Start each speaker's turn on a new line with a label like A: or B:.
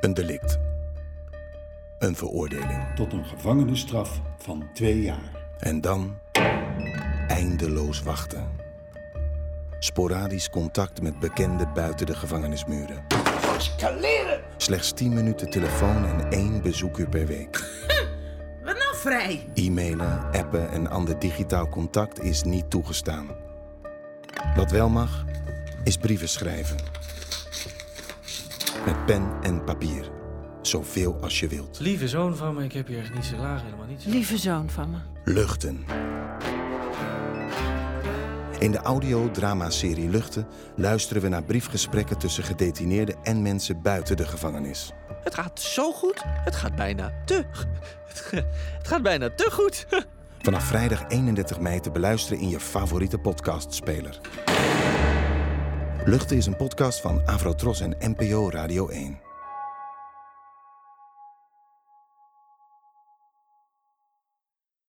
A: Een delict. Een veroordeling.
B: tot een gevangenisstraf van twee jaar.
A: En dan eindeloos wachten. Sporadisch contact met bekenden buiten de gevangenismuren.
C: Escaleren!
A: Slechts 10 minuten telefoon en één bezoekuur per week.
C: Wat nou vrij?
A: E-mailen, appen en ander digitaal contact is niet toegestaan. Wat wel mag, is brieven schrijven. Met pen en papier. Zoveel als je wilt.
D: Lieve zoon van me, ik heb je echt niet zo laag, helemaal niet. zo-
E: Lieve zoon van me.
A: Luchten. In de audiodramaserie Luchten luisteren we naar briefgesprekken tussen gedetineerden en mensen buiten de gevangenis.
D: Het gaat zo goed. Het gaat bijna te. Het gaat bijna te goed.
A: Vanaf vrijdag 31 mei te beluisteren in je favoriete podcastspeler. Luchten is een podcast van Avrotros en NPO Radio 1.